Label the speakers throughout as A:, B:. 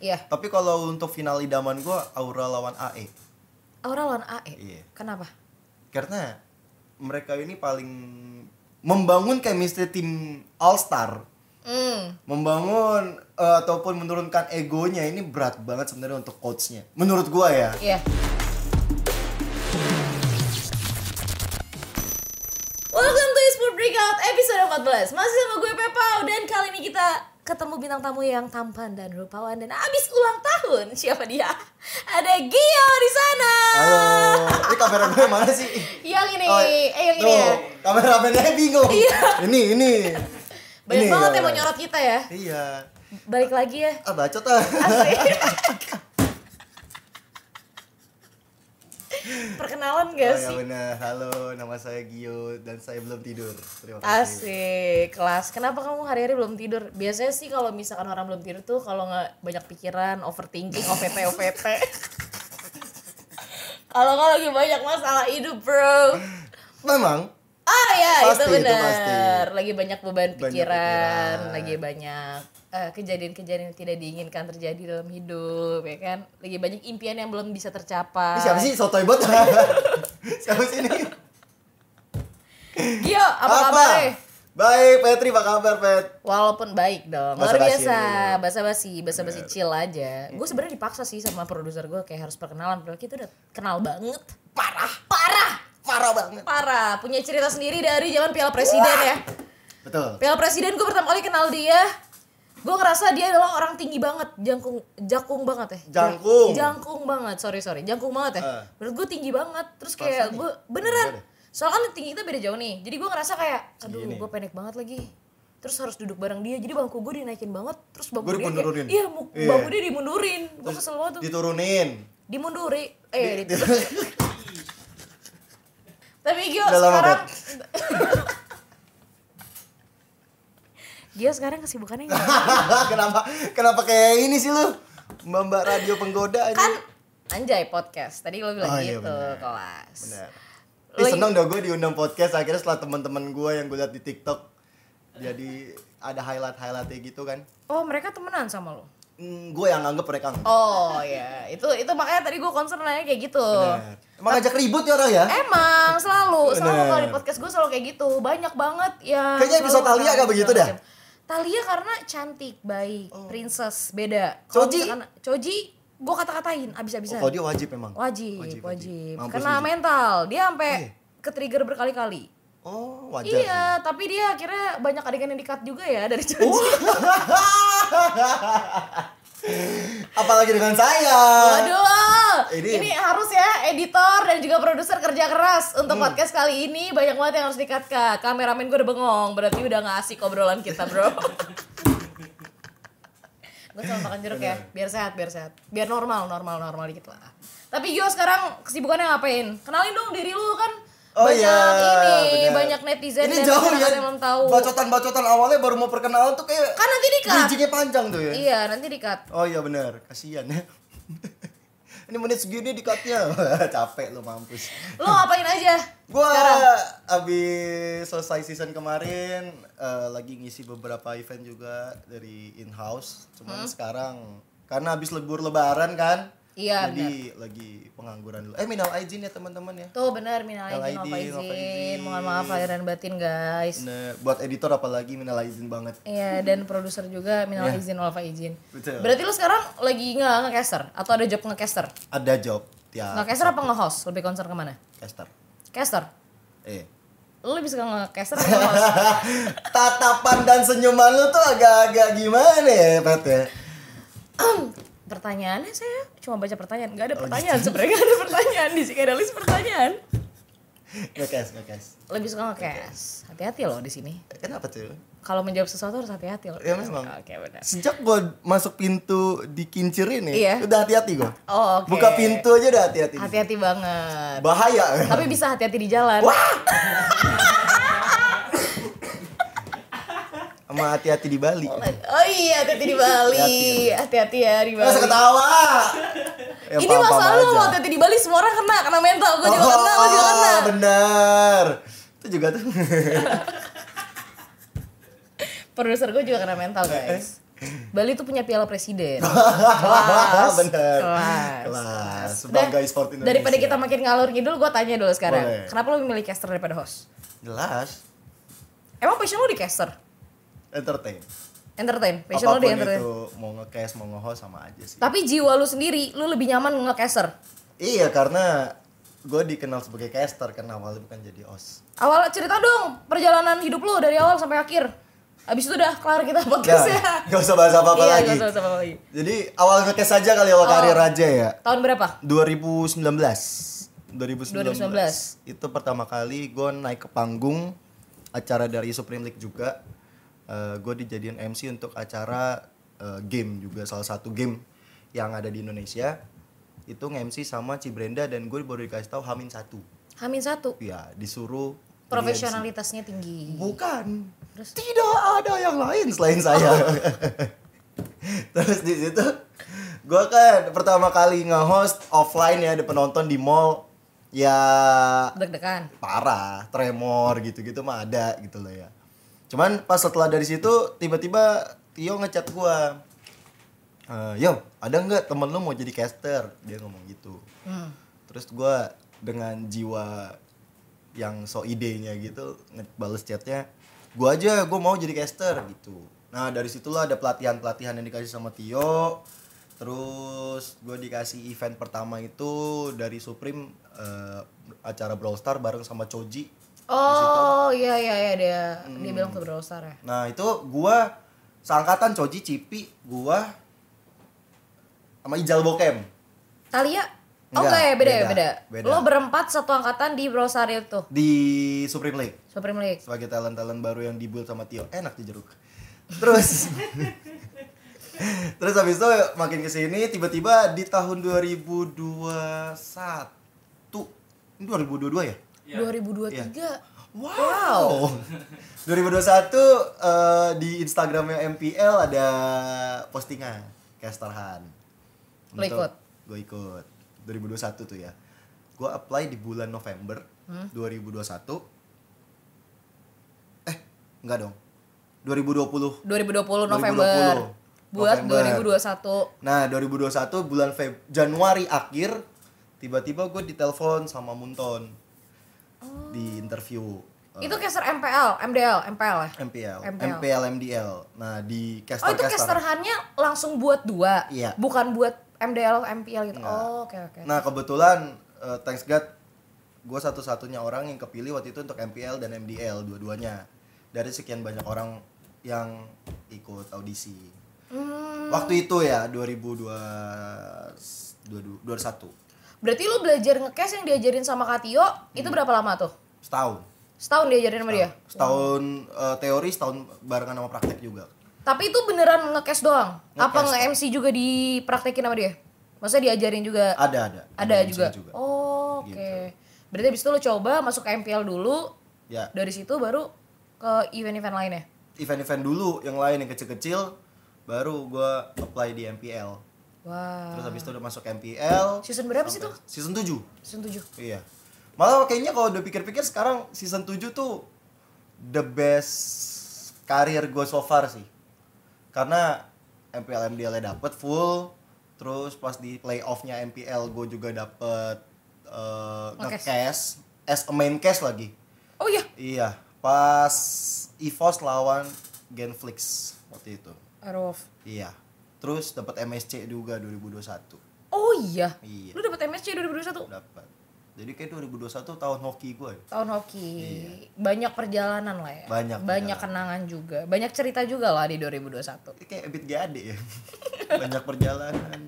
A: Iya.
B: Tapi kalau untuk final idaman gue Aura lawan E. AE.
A: Aura lawan AE.
B: Iya.
A: Kenapa?
B: Karena mereka ini paling membangun chemistry tim All Star,
A: Hmm.
B: membangun eh, ataupun menurunkan egonya ini berat banget sebenarnya untuk coachnya. Menurut gue ya.
A: Iya. Welcome to Esport Breakout episode 14 Masih sama gue Pepau Dan kali ini kita ketemu bintang tamu yang tampan dan rupawan Dan abis ulang tahun Siapa dia? Ada Gio di sana
B: Halo. Ini kamera gue mana sih?
A: Yang ini
B: Oh,
A: Eh yang ini
B: tuh,
A: ya
B: Kamera bandnya bingung.
A: Iya.
B: Ini ini.
A: Banyak
B: Ini,
A: banget
B: iya.
A: yang mau nyorot kita ya
B: Iya.
A: Balik lagi ya
B: Ah bacot ah.
A: Asik.
B: Oh
A: Perkenalan
B: ya
A: gak sih?
B: benar. Halo, nama saya Gio dan saya belum tidur. Terima kasih.
A: Asik, kelas. Kenapa kamu hari-hari belum tidur? Biasanya sih kalau misalkan orang belum tidur tuh kalau nggak banyak pikiran, overthinking, OVT, OVT. kalau nggak lagi banyak masalah hidup, bro.
B: Memang
A: Ah ya,
B: Pasti,
A: itu
B: itu pasti.
A: benar. Lagi banyak beban
B: Banyak
A: pikiran,
B: pikiran.
A: lagi banyak eh, kejadian-kejadian yang tidak diinginkan terjadi dalam hidup, ya kan? Lagi banyak impian yang belum bisa
B: Ini
A: tercapai.
B: siapa sih sotoy banget? siapa sih ini?
A: Gio, apa kabarnya?
B: Baik, Petri, apa kabar, Pet?
A: Walaupun baik dong, luar
B: Basa-basi
A: biasa,
B: dulu.
A: basa-basi, basa-basi chill aja. Gue sebenarnya dipaksa sih sama produser gue kayak harus perkenalan, padahal kita udah kenal banget. Parah, parah,
B: Parah banget.
A: parah. Punya cerita sendiri dari zaman Piala Presiden ya.
B: Betul.
A: Piala Presiden gue pertama kali kenal dia. Gue ngerasa dia adalah orang tinggi banget, jangkung, jakung banget ya.
B: Jangkung.
A: Jangkung banget, sorry sorry, jangkung banget ya.
B: Eh.
A: Menurut gue tinggi banget, terus
B: Masa
A: kayak
B: nih?
A: gue beneran.
B: Beneran
A: Soalnya kan tinggi kita beda jauh nih, jadi gue ngerasa kayak, aduh
B: Gini.
A: gue pendek banget lagi. Terus harus duduk bareng dia, jadi bangku gue dinaikin banget, terus bangku
B: Gua
A: dia
B: dimundurin.
A: kayak, iya mu-
B: Iya.
A: bangku dia dimundurin, gue kesel banget tuh.
B: Diturunin.
A: Dimunduri, eh di- Tapi Gio
B: Udah lama,
A: sekarang Gio sekarang kesibukannya gimana?
B: kenapa kenapa kayak ini sih lu? Mbak-mbak radio penggoda aja.
A: kan Anjay podcast Tadi lo bilang
B: Oh, iya,
A: gitu
B: benar.
A: kelas
B: Benar. Ih,
A: Lagi-
B: Eh, seneng dong gue diundang podcast akhirnya setelah teman-teman gue yang gue liat di TikTok. Jadi ada highlight-highlightnya gitu kan.
A: Oh mereka temenan sama lo?
B: Hmm, gue yang anggap mereka enggak.
A: Oh ya itu itu makanya tadi gue concern nanya kayak gitu
B: Benar. Emang ngajak ribut ya orang ya?
A: Emang selalu, selalu
B: Bener.
A: kalau di podcast gue selalu kayak gitu, banyak banget yang
B: Kayaknya episode
A: selalu
B: Thalia
A: ngalamin
B: gak begitu
A: segala
B: dah? Oh.
A: macam. Thalia karena cantik, baik, princess, beda.
B: Coji?
A: misalkan- Coji, gue kata-katain abis-abisan.
B: Oh, kalau dia wajib memang.
A: Eh, wajib,
B: Wajib,
A: wajib,
B: wajib. Mampus
A: Karena
B: wajib.
A: mental, dia sampai
B: Iya.
A: ke trigger berkali-kali.
B: Oh, wajar.
A: Iya, tapi dia akhirnya banyak adegan yang di-cut juga ya dari Coji.
B: Oh, Apalagi dengan saya.
A: Waduh, ini,
B: Ini-
A: harus ya editor dan juga produser kerja keras untuk
B: Hmm.
A: podcast kali ini banyak banget yang harus dikat cut Kameramen gue udah bengong, berarti udah gak asik obrolan kita bro. gue selalu makan jeruk ya, biar sehat, biar sehat, biar normal, normal, normal dikit lah. Tapi Gio sekarang kesibukannya ngapain? Kenalin dong diri lu kan.
B: Oh
A: banyak
B: iya,
A: ini,
B: benar.
A: banyak netizen
B: Ini
A: netizen
B: jauh ya.
A: yang belum tahu.
B: Bacotan-bacotan awalnya baru mau perkenalan tuh kayak
A: Kan nanti di-cut.
B: Bridgingnya panjang tuh ya.
A: Iya, nanti dikat.
B: Oh iya benar, kasihan ya. Ini menit segini dikatnya capek lo mampus.
A: Lu ngapain aja?
B: Gua
A: sekarang?
B: abis selesai season kemarin eh, lagi ngisi beberapa event juga dari in house.
A: Hmm?
B: Cuman sekarang karena abis libur lebaran kan.
A: Iya,
B: Jadi lagi pengangguran dulu. Eh minal aijin ya teman-teman ya.
A: Tuh bener minal
B: Minal
A: aidin wal
B: aidin, wal
A: faizin.
B: faizin.
A: Mohon maaf lahir dan batin guys.
B: Nah, buat editor apalagi minal aijin banget.
A: Iya dan produser juga minal aidin wal faizin.
B: Iya. Betul.
A: Berarti lu sekarang lagi nggak ngecaster atau ada job ngecaster?
B: Ada job tiap
A: Ngecaster apa nge-host? Lebih concern kemana?
B: caster.
A: Caster.
B: Eh.
A: Lu lebih suka ngecaster atau nge-host?
B: Tatapan dan senyuman lu tuh agak-agak gimana ya, Pat ya?
A: Pertanyaannya saya cuma baca pertanyaan. Gak ada
B: Oh,
A: pertanyaan
B: gitu.
A: sebenarnya gak ada pertanyaan di sini. Gak ada list pertanyaan.
B: Ngekes, ngekes.
A: Lebih suka nge-cast. Hati-hati loh di sini.
B: Kenapa tuh?
A: Kalau menjawab sesuatu harus hati-hati loh.
B: Ya, memang.
A: Oke benar.
B: Sejak gua masuk pintu di kincir ini,
A: Iya.
B: udah hati-hati gua.
A: Oh, oke.
B: Buka pintu aja udah hati-hati.
A: Hati-hati banget.
B: Bahaya.
A: Tapi bisa hati-hati di jalan.
B: Sama hati-hati di Bali.
A: Oh iya, hati-hati di Bali. Hati-hati ya di
B: Nggak
A: Bali.
B: usah ketawa. Ya,
A: Ini
B: paham-paham
A: masalah lu
B: aja.
A: kalau hati-hati di Bali semua orang kena, kena mental. Gue juga
B: Oh,
A: kena, lu juga kena.
B: Bener. Itu juga tuh.
A: Produser gue juga kena mental, guys. Bali tuh punya piala presiden.
B: Hahaha, bener.
A: Kelas.
B: Kelas. Sebagai
A: Udah,
B: sport Indonesia.
A: Daripada kita makin ngalur ngidul, gue tanya dulu sekarang.
B: Boleh.
A: Kenapa lo memilih caster daripada host?
B: jelas
A: Emang passion lo di caster?
B: entertain.
A: Entertain? Passion lo
B: Apapun
A: di entertain?
B: itu mau nge-cast, mau nge-host sama aja sih.
A: Tapi jiwa lu sendiri, lu lebih nyaman nge-caster.
B: Iya karena gue dikenal sebagai caster karena awalnya bukan jadi os.
A: Awal cerita dong perjalanan hidup lu dari awal sampai akhir. Abis itu udah kelar kita podcast ya.
B: gak usah bahas apa-apa
A: Iya,
B: lagi.
A: nggak usah Oh. apa lagi.
B: Jadi awal nge-cast aja kali awal karir aja ya.
A: Tahun berapa?
B: 2019. 2019. Itu pertama kali gue naik ke panggung acara dari Supreme League juga. gue dijadiin MC untuk acara eh, game juga salah satu game yang ada di Indonesia itu nge-MC sama Cibrenda dan gue baru dikasih tahu Hamin satu
A: Hamin satu.
B: ya disuruh jadi MC.
A: Profesionalitasnya tinggi.
B: Bukan. Tidak ada yang lain selain saya. Terus di situ gua kan pertama kali nge-host offline ya ada penonton di mall ya
A: Deg-degan.
B: parah, tremor gitu-gitu mah ada gitu loh ya. Cuman pas setelah dari situ tiba-tiba Tio ngechat gua. Eh, yo, ada nggak temen lu mau jadi caster? Dia ngomong gitu.
A: Hmm.
B: Terus gua dengan jiwa yang so idenya gitu ngebales chatnya, gua aja gua mau jadi caster gitu. Nah dari situlah ada pelatihan-pelatihan yang dikasih sama Tio. Terus gua dikasih event pertama itu dari Supreme eh, acara Brawl Star bareng sama Choji.
A: Oh iya iya iya dia dia
B: Hmm.
A: bilang ke Brawl Star ya.
B: Nah itu gua seangkatan Choji, Cipi, gua sama Ijal Bokem.
A: Talia? Oh
B: Enggak,
A: enggak ya beda, ya beda.
B: beda, beda.
A: Lo berempat satu angkatan di Brawl Star itu.
B: di Supreme League.
A: Supreme League.
B: sebagai talent talent baru yang dibuild sama Tio enak di jeruk terus terus habis itu makin kesini tiba-tiba di tahun 2021 ini 2022 ya
A: Iya. 2023.
B: wow 2021 eh, di Instagramnya MPL ada postingan Casterhan
A: Lo ikut?
B: gue ikut 2021 tuh ya gue apply di bulan November
A: Hmm?
B: 2021 eh enggak dong 2020
A: 2020 November.
B: 2020.
A: Buat
B: November.
A: 2021.
B: Nah, 2021 bulan Feb Januari akhir tiba-tiba gue ditelepon sama Munton
A: Oh.
B: di interview eh,
A: Itu caster MPL, MDL, MPL ya.
B: MPL,
A: MPL.
B: MPL, MDL. Nah, di
A: Oh
B: caster
A: itu caster hannya langsung buat dua,
B: Iya.
A: bukan buat MDL, MPL gitu.
B: Enggak.
A: Oh oke oke.
B: Nah, kebetulan eh, thanks God gue satu-satunya orang yang kepilih waktu itu untuk MPL dan MDL dua-duanya. Dari sekian banyak orang yang ikut audisi.
A: Hmm,
B: Waktu itu ya 2002 2021
A: berarti lu belajar ngecast yang diajarin sama Katio itu berapa lama tuh?
B: setahun.
A: Setahun diajarin sama dia.
B: Hmm. setahun eh, teori setahun barengan sama praktek juga
A: Tapi itu beneran ngecast doang. Apa
B: Nge-cast.
A: nge-MC juga dipraktekin sama dia? Maksudnya diajarin juga?
B: ada ada
A: ada
B: MC
A: juga. Oh, oke.
B: Gitu.
A: Berarti abis itu lo coba masuk ke MPL dulu,
B: ya
A: dari situ baru ke event-event lainnya.
B: event-event dulu yang lain yang kecil-kecil baru gua apply di MPL
A: Wah.
B: terus habis itu udah masuk MPL
A: Eh. Season berapa sih tuh?
B: season 7
A: Season 7.
B: iya malah kayaknya kalau udah pikir-pikir sekarang season 7 tuh the best karir gue so far sih karena MPL MDL -nya dapet full terus pas di playoffnya MPL gue juga dapet eh,
A: Nge-cash.
B: nge-cash as a main cash lagi
A: Oh iya.
B: Iya, pas EVOS lawan Genflix waktu itu.
A: Aruf.
B: Iya. Terus dapat MSC juga 2021.
A: Oh iya.
B: Iya.
A: Lu dapat MSC 2021
B: Dapat. Jadi kayak 2021 tahun hoki gue.
A: tahun hoki. Banyak perjalanan lah
B: Iya.
A: ya.
B: Banyak
A: Banyak
B: perjalanan.
A: kenangan juga. Banyak cerita juga lah di 2021.
B: Ini Kayak Ebit Gade ya. Banyak perjalanan.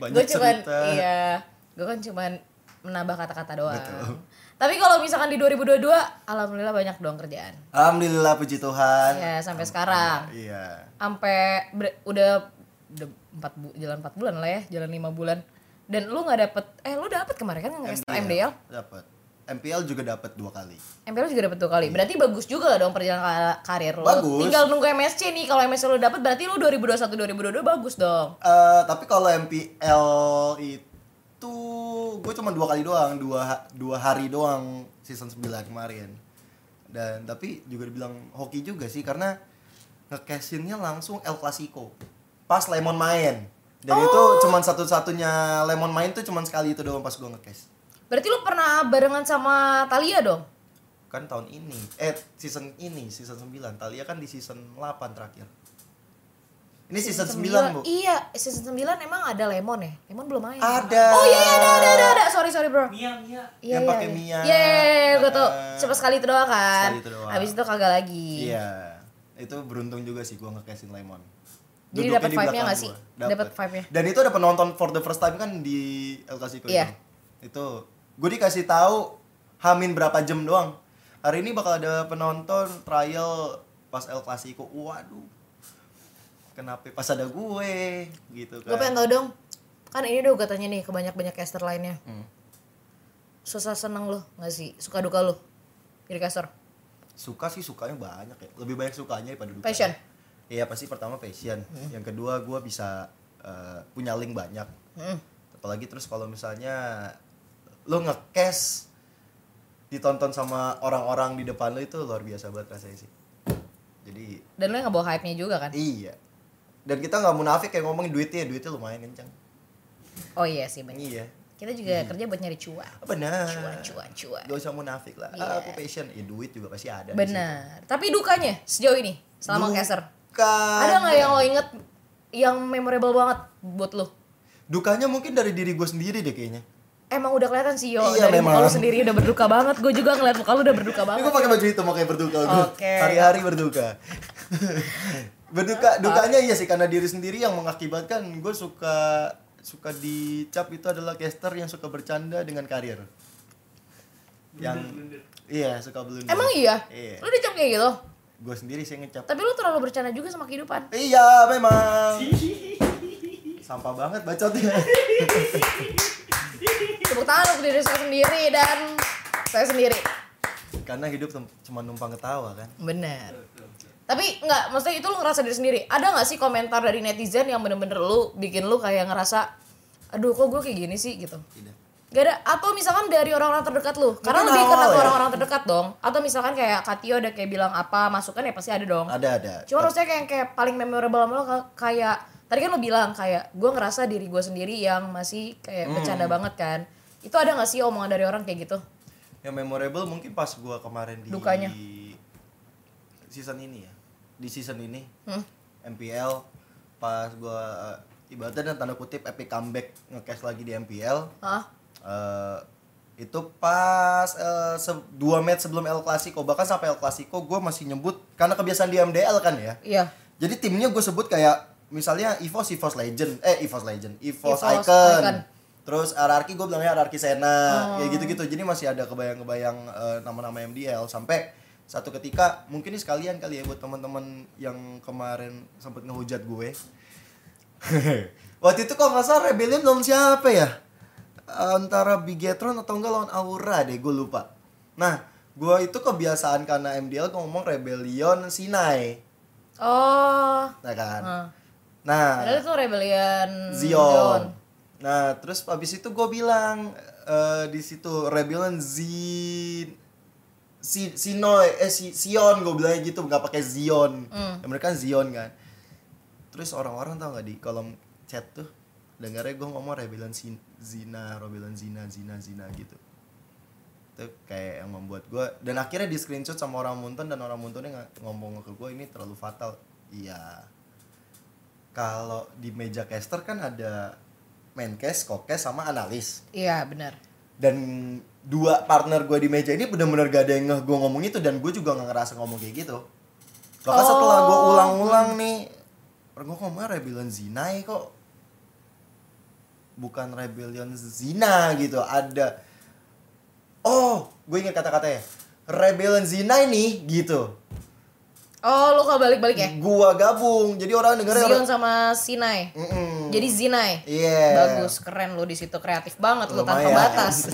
A: Gue
B: Banyak
A: cuman
B: cerita.
A: iya, gue kan cuman menambah kata-kata doang.
B: Betul.
A: Tapi kalau misalkan di 2022 alhamdulillah banyak doang kerjaan.
B: Alhamdulillah puji Tuhan.
A: Ya sampai sekarang.
B: Iya.
A: Sampai ber- udah udah 4 bu- jalan 4 bulan lah ya, jalan 5 bulan. Dan lu nggak dapet eh lu dapet kemarin kan nge MDL?
B: Dapat. MPL juga dapat dua kali.
A: MPL juga dapat dua kali. Berarti bagus juga lah dong perjalanan ka- karir lo.
B: Iya. Bagus.
A: Tinggal nunggu MSC nih. Kalau MSC lo dapat berarti lo 2021 2022 bagus dong.
B: Eh, tapi kalau MPL itu gue cuma dua kali doang, dua dua hari doang season 9 kemarin. Dan tapi juga dibilang hoki juga sih karena ngecasinnya langsung El Clasico pas Lemon main dan itu
A: Oh!
B: cuman satu-satunya Lemon main tuh cuman sekali itu doang pas gua ngecash
A: Berarti lu pernah barengan sama Talia dong?
B: kan tahun ini eh season ini season 9 Talia kan di season 8 terakhir ini season 9 bu
A: Iya, season 9 emang ada Lemon ya? Lemon belum main.
B: Ada.
A: Oh iya, iya, ada, ada, ada, ada. Sorry, sorry bro.
C: Mia, Mia.
A: Iya,
B: Yang
A: iya,
B: pakai
A: iya.
B: Mia.
A: Iya, iya, iya, gue tau.
B: Eh.
A: Cuma sekali itu doang kan.
B: Sekali itu doang.
A: Habis itu kagak lagi.
B: Iya, itu beruntung juga sih gua ngecasin Lemon.
A: Jadi
B: Duduknya
A: dapet
B: di
A: vibe-nya
B: belakang
A: nggak sih?
B: gua.
A: Dapet vibe-nya.
B: Dan itu ada penonton for the first time kan di El Clasico
A: Iya.
B: itu. Itu gue dikasih tahu Hamin berapa jam doang. Hari ini bakal ada penonton trial pas El Clasico. Waduh. Kenapa pas ada gue gitu kan.
A: Gue pengen tau dong. Kan ini udah gue tanya nih ke banyak-banyak caster lainnya.
B: Hmm.
A: Susah seneng lo gak sih? Suka duka lo? Jadi caster.
B: Suka sih sukanya banyak ya. Lebih banyak sukanya daripada dukanya.
A: Passion. Hmm.
B: Iya pasti pertama passion. Yang kedua gue bisa eh, punya link banyak.
A: Mm.
B: Apalagi terus kalau misalnya lo nge-cash ditonton sama orang-orang di depan lo itu luar biasa banget rasanya sih. Jadi
A: Dan lo gak bawa hype-nya juga kan?
B: iya. Dan kita nggak munafik kayak ngomongin duitnya, duitnya lumayan kencang.
A: Oh iya sih bener.
B: Iya. Nah.
A: Kita juga kerja buat nyari cuan.
B: Benar.
A: Cuan, cuan, cuan.
B: Gak usah munafik lah.
A: Iya.
B: Ah, aku passion, ya duit juga pasti ada. di
A: Benar. Tapi dukanya sejauh ini
B: situ. kan.
A: selama caster.
B: Bukan.
A: Ada nggak yang lo inget yang memorable banget buat lo?
B: Dukanya mungkin dari diri gue sendiri deh kayaknya.
A: Emang udah kelihatan sih yo
B: Iya,
A: dari muka
B: memang. Iya.
A: lo sendiri udah berduka banget. Gue juga ngeliat muka lo udah berduka
B: Ini
A: banget.
B: gue pakai baju hitam makanya berduka gue.
A: Oke.
B: Hari-hari berduka. berduka dukanya iya sih karena diri sendiri yang mengakibatkan gue suka suka dicap itu adalah caster yang suka bercanda dengan karir. Yang iya suka blunder.
A: Emang iya?
B: Iya.
A: Lo dicap kayak gitu?
B: Gue sendiri sih ngecap.
A: Tapi lo terlalu bercanda juga sama kehidupan.
B: Iya memang. Sampah banget bacotnya.
A: Tepuk tangan untuk diri saya sendiri dan saya sendiri.
B: karena hidup tem- cuma numpang ketawa kan.
A: Bener. Tapi nggak, maksudnya itu lo ngerasa diri sendiri. Ada nggak sih komentar dari netizen yang bener-bener lo bikin lo kayak ngerasa, aduh kok gue kayak gini sih gitu?
B: Tidak.
A: Gak ada atau misalkan dari orang-orang terdekat lu. Karena
B: Mungkin
A: lebih
B: awal
A: kena ke
B: ya.
A: orang-orang terdekat dong. Atau misalkan kayak Katio ada kayak bilang apa, masukan ya pasti ada dong.
B: Ada ada.
A: Cuma maksudnya kayak yang kayak paling memorable sama lo ka- kayak tadi kan lo bilang kayak gue ngerasa diri gue sendiri yang masih kayak bercanda banget kan. Itu ada gak sih omongan dari orang kayak gitu?
B: yang memorable mungkin pas gua kemarin di
A: Dukanya.
B: season ini ya di season ini
A: Hmm.
B: MPL pas gua eh, ibaratnya dan tanda kutip epic comeback nge-cash lagi di MPL
A: Hah?
B: eh, itu pas eh, se- dua match sebelum El Clasico bahkan sampai El Clasico gua masih nyebut karena kebiasaan di MDL kan ya
A: Iya.
B: jadi timnya gue sebut kayak misalnya EVOS, EVOS Legend, eh EVOS Legend, EVOS,
A: EVOS
B: Icon.
A: Icon.
B: Terus RRQ gue bilangnya RRQ Sena, kayak gitu-gitu. Jadi masih ada kebayang-kebayang eh, nama-nama MDL sampai satu ketika mungkin ini sekalian kali ya buat teman-teman yang kemarin sempet ngehujat gue. Waktu itu kok nggak salah Rebellion lawan siapa ya? Antara Bigetron atau enggak lawan Aura deh, gue lupa. Nah, gue itu kebiasaan karena MDL ngomong Rebellion Sinai.
A: Oh.
B: Nah kan.
A: Nah.
B: Nah,
A: Padahal itu rebellion
B: Zion. Nah, terus abis itu gue bilang eh, di situ Rebellion Zin si Sinoi eh si Sion gue bilangnya gitu nggak pakai Zion.
A: Hmm.
B: Ya, mereka kan Zion kan. Terus orang-orang tau nggak di kolom chat tuh dengarnya gue ngomong Rebellion Sin- Zina, Rebellion Zina, Zina, Zina gitu. Itu kayak yang membuat gue dan akhirnya di screenshot sama orang Munten dan orang Muntennya nga- ngomong ke gue ini terlalu fatal. Iya. Kalau di meja caster kan ada main case, kokes sama analis
A: Iya benar.
B: dan dua partner gue di meja ini bener-bener gak ada yang ngeh gue ngomong itu dan gue juga gak ngerasa ngomong kayak gitu bahkan
A: Oh.
B: setelah gue ulang-ulang nih gue ngomong "Ah, rebellion zinai kok bukan rebellion zina gitu ada oh gue ingat kata-katanya rebellion zina ini gitu
A: Oh lo kalau balik-balik ya?
B: gua gabung jadi orang dengernya
A: Zion
B: orang
A: sama Sinai.
B: Mm-mm.
A: Jadi Zinai.
B: Iya.
A: Bagus, keren lu di situ kreatif banget lu tanpa
B: Lumayan.
A: batas.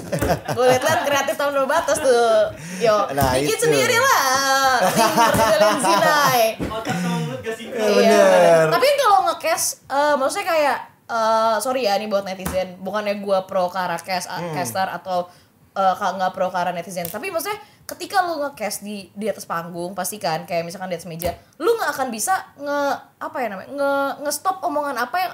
A: Gue liat-liat kreatif tanpa batas tuh. Yo,
B: Nah, itu.
A: bikin sendiri lah. tim Brazilian Zinai.
C: Otak sama mulut gak sih?
B: Iya, bener.
A: Tapi kan kalau nge-cast, eh, maksudnya kayak eh, sorry ya ini buat
B: Hmm.
A: netizen, bukannya gua pro kara cast, caster atau eh, ka- nggak pro kara netizen. Tapi maksudnya ketika lu nge-cast di di atas panggung pasti kan kayak misalkan di atas meja lu nggak akan bisa nge apa ya namanya nge nge-stop omongan apa yang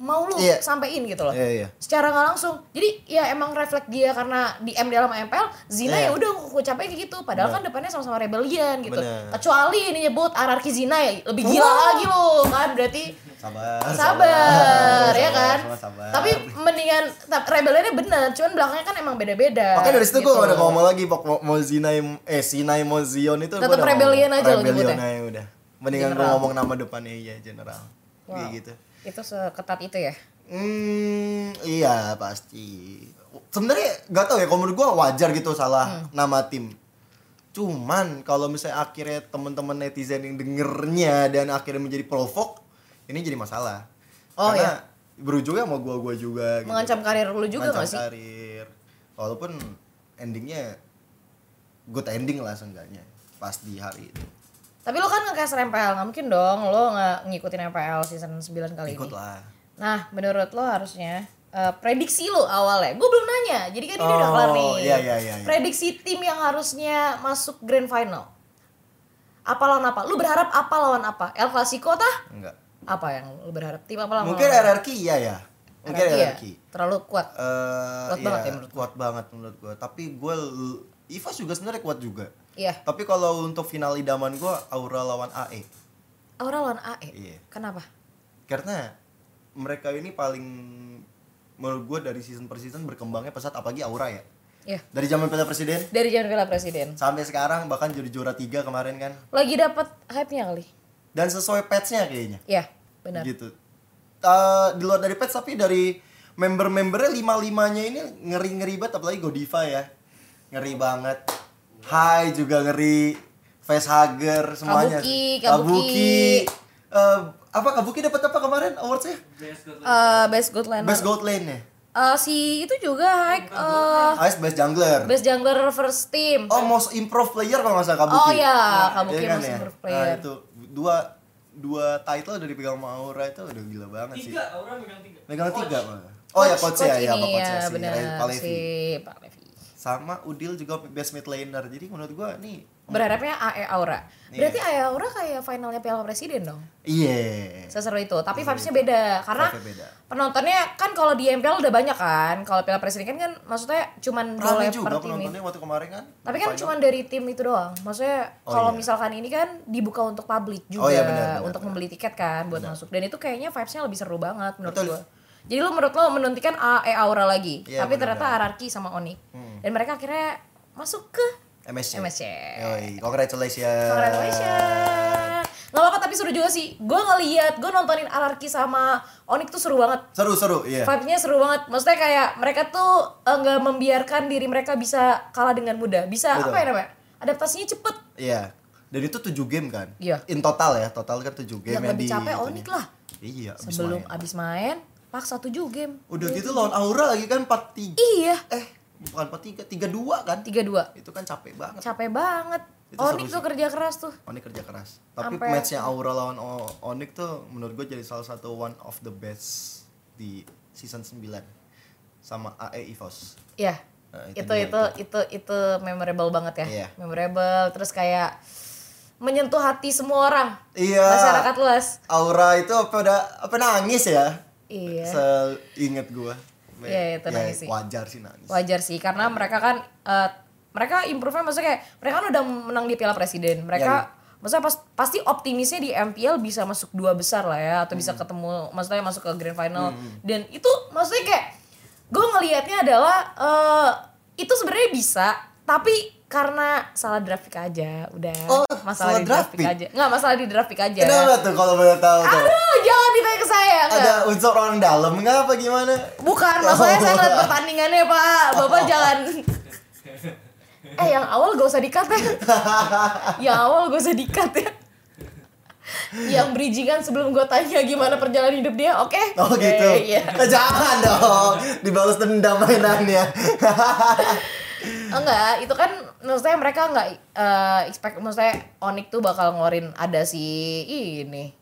A: mau lu
B: Iya.
A: sampein gitu loh
B: Iya, iya.
A: secara nggak langsung jadi ya emang refleks dia karena di MDL sama MPL zina
B: Iya.
A: ya udah ucapnya kayak gitu padahal kan depannya sama-sama rebellion gitu
B: Bener.
A: kecuali ini nyebut anarki zina ya lebih gila
B: Wah. Ah,
A: lagi lo kan berarti
B: Sabar.
A: sabar ya kan
B: Sama sabar.
A: tapi mendingan ta- rebelionnya bener cuman belakangnya kan emang beda-beda
B: Makanya dari situ
A: gitu.
B: gue gak ada ngomong lagi pok mau, mau Zinai eh Sinai mau Zion itu gua
A: Tetep
B: udah
A: rebellion
B: ngomong.
A: aja lo
B: Rebellion
A: nyebutnya?
B: aja udah. Mendingan gue
A: General.
B: ngomong nama depannya iya general.
A: Wow.
B: Kayak gitu.
A: itu seketat itu ya
B: Hmm, iya pasti. Sebenarnya gak tau ya kalau menurut gue wajar gitu
A: Hmm.
B: salah nama tim. Cuman kalau misalnya akhirnya teman-teman netizen yang dengernya dan akhirnya menjadi provok, ini jadi masalah.
A: Oh,
B: Karena berujungnya sama gua-gua juga gitu.
A: mengancam karir lu juga
B: Mancang
A: nggak sih
B: karir. Walaupun endingnya good ending lah seenggaknya pas di hari itu.
A: tapi lu kan nge-cast MPL nggak mungkin dong lo nggak ngikutin MPL season 9 kali
B: Ikut
A: ini
B: lah.
A: nah menurut lo harusnya eh, prediksi lo awalnya gue belum nanya jadi kan ini udah
B: Oh,
A: kelar nih
B: iya, iya, iya, iya.
A: prediksi tim yang harusnya masuk grand final apa lawan apa lu berharap apa lawan apa El Clasico tah
B: Enggak.
A: apa yang lu berharap tim apa lawan
B: Mungkin
A: lawan?
B: RRQ iya ya. Mungkin
A: Hierarki ya?
B: RRQ.
A: terlalu kuat
B: Eh,
A: Kuat banget ya menurut
B: kuat banget menurut gua. Tapi gua l- Ivas juga sebenarnya kuat juga.
A: iya
B: Tapi kalau untuk final idaman gua Aura lawan E. AE.
A: Aura lawan AE
B: Iya.
A: kenapa
B: Karena mereka ini paling menurut gua dari season per season berkembangnya pesat apalagi Aura ya.
A: iya
B: Dari zaman Piala Presiden
A: dari zaman Piala Presiden
B: sampai sekarang bahkan jadi juara tiga kemarin kan.
A: lagi dapat hype nya kali
B: dan sesuai patch-nya kayaknya
A: iya benar
B: gitu Eh, di luar dari patch tapi dari member-membernya lima limanya ini ngeri ngeri banget apalagi Godiva ya ngeri banget Hai juga ngeri Facehugger semuanya
A: Kabuki,
B: Kabuki. Eh, apa Kabuki dapat apa kemarin awards-nya
A: Eh, best good liner
B: best gold lane ya
A: Eh, si itu juga hike eh,
B: Ice best jungler
A: best jungler first team
B: Oh, most improved player kalau nggak salah Kabuki.
A: Oh, iya. Kabuki
B: Iya
A: most improved
B: Nah,
A: player.
B: itu dua dua title udah dipegang sama Aura itu udah gila banget sih.
C: Tiga, orang megang tiga.
B: Megang tiga malah. Oh ya coach, ya, ya, sama
A: ini, iya,
B: coach ya, si
A: benar,
B: Ray Palevi.
A: si Pak Levi.
B: Sama Udil juga best mid laner. Jadi menurut gua nih
A: berharapnya AE Aura berarti AE Aura kayak finalnya Piala Presiden dong
B: iya.
A: seseru itu tapi vibesnya beda karena
B: Vibe-nya Iya. beda.
A: penontonnya kan kalau di MPL udah banyak kan kalau Piala Presiden kan kan maksudnya
B: Rame
A: cuman boleh per
B: juga
A: tim ya.
B: penontonnya waktu kemarin kan.
A: tapi kan
B: Final.
A: cuman dari tim itu doang maksudnya
B: Oh,
A: kalau
B: iya.
A: misalkan ini kan dibuka untuk publik
B: Oh,
A: juga
B: iya, benar, benar, benar.
A: untuk membeli tiket kan buat masuk dan itu kayaknya vibesnya lebih seru banget menurut
B: Betul.
A: gua jadi lu menurut lo menantikan AE Aura lagi
B: Iya,
A: tapi
B: benar, Hmm.
A: ternyata Ararki sama Oni dan mereka akhirnya masuk ke
B: MSC.
A: MSC.
B: ya. Yoi, congratulations.
A: ya. Congratulations nggak apa-apa tapi seru juga sih gue ngeliat gue nontonin Ararki sama Onik tuh seru banget
B: Seru seru, iya.
A: Vibe-nya seru banget. Maksudnya kayak mereka tuh eh, nggak membiarkan diri mereka bisa kalah dengan mudah. Bisa
B: Betul.
A: apa ya namanya? Adaptasinya cepet.
B: Iya. Dan itu 7 game kan?
A: Iya.
B: In total ya, total kan 7 game
A: Yang lebih capek Onik lah.
B: Iya, abis
A: Sebelum
B: main.
A: abis main, paksa tujuh game.
B: Udah gitu lawan Aura lagi kan 4-3.
A: Iya,
B: Eh, bukan 4-3, 3-2 kan?
A: tiga dua.
B: Itu kan capek banget.
A: Capek banget.
B: Itu
A: Onik
B: seru
A: tuh kerja keras tuh.
B: Onik kerja keras. Tapi
A: Sampai-
B: matchnya Aura lawan O- Onik tuh menurut gue jadi salah satu one of the best di season 9 sama AE Evos.
A: Iya.
B: Nah, itu
A: itu,
B: dia,
A: itu, itu, itu memorable banget ya.
B: Iya.
A: Memorable. Terus kayak menyentuh hati semua orang.
B: Iya.
A: Masyarakat luas.
B: Aura itu apa udah apa nangis ya?
A: Iya.
B: Seinget gue.
A: Iya, itu nangis sih.
B: Ya, Wajar sih nangis.
A: wajar sih karena mereka kan eh, mereka improve-nya maksudnya kayak mereka kan udah menang di Piala Presiden. Mereka
B: Ya,
A: maksudnya pas- pasti optimisnya di MPL bisa masuk dua besar lah ya atau
B: Hmm.
A: bisa ketemu maksudnya masuk ke grand final. Dan itu maksudnya kayak gue ngelihatnya adalah eh, itu sebenarnya bisa tapi karena salah draft pick aja udah
B: Oh, salah
A: masalah di draft
B: draft
A: pick
B: pick.
A: aja nggak masalah di draft pick aja
B: Kenapa tuh kalau boleh tahu tuh?
A: aduh jangan ditanya ke saya nggak.
B: Ada unsur orang dalam nggak apa gimana?
A: Bukan, maksudnya saya ngeliat pertandingannya pak Bapak jangan Eh yang awal gak usah dikat ya Yang awal gak usah dikat ya Yang bridgingan sebelum gue tanya gimana perjalanan hidup dia, oke?
B: Oh
A: Oke,
B: gitu.
A: Iya
B: Eh, Jangan dong. Dibalas dendam mainannya.
A: Enggak, itu kan maksudnya mereka nggak eh, expect Maksudnya Onik tuh bakal ngorin ada si ini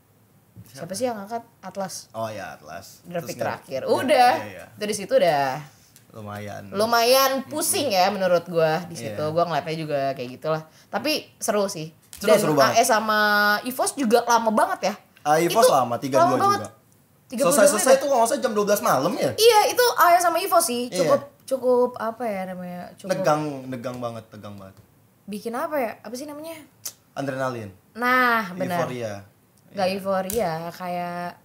A: Siapa sih yang angkat? Atlas
B: oh ya Atlas.
A: Draft
B: Terus
A: pick
B: nggak-
A: terakhir
B: Iya,
A: Udah,
B: iya, iya.
A: dari situ udah
B: lumayan
A: lumayan pusing ya menurut gua di situ.
B: Iya.
A: Gua ngeliatnya juga kayak gitulah. Tapi seru sih.
B: Seru,
A: Dan
B: seru banget.
A: AE sama Ivos juga lama banget ya.
B: Ah, Ivos
A: Itu
B: lama, 32
A: lama
B: juga.
A: banget. 32
B: selesai-selesai
A: menit.
B: tuh kalau nggak salah jam 12 malam ya
A: Iya, itu AE sama Ivos sih.
B: Iya.
A: Cukup cukup apa ya namanya? Cukup
B: negang negang banget tegang banget
A: bikin apa ya? Apa sih namanya?
B: adrenalin
A: Nah, benar.
B: euforia
A: Gak euforia kayak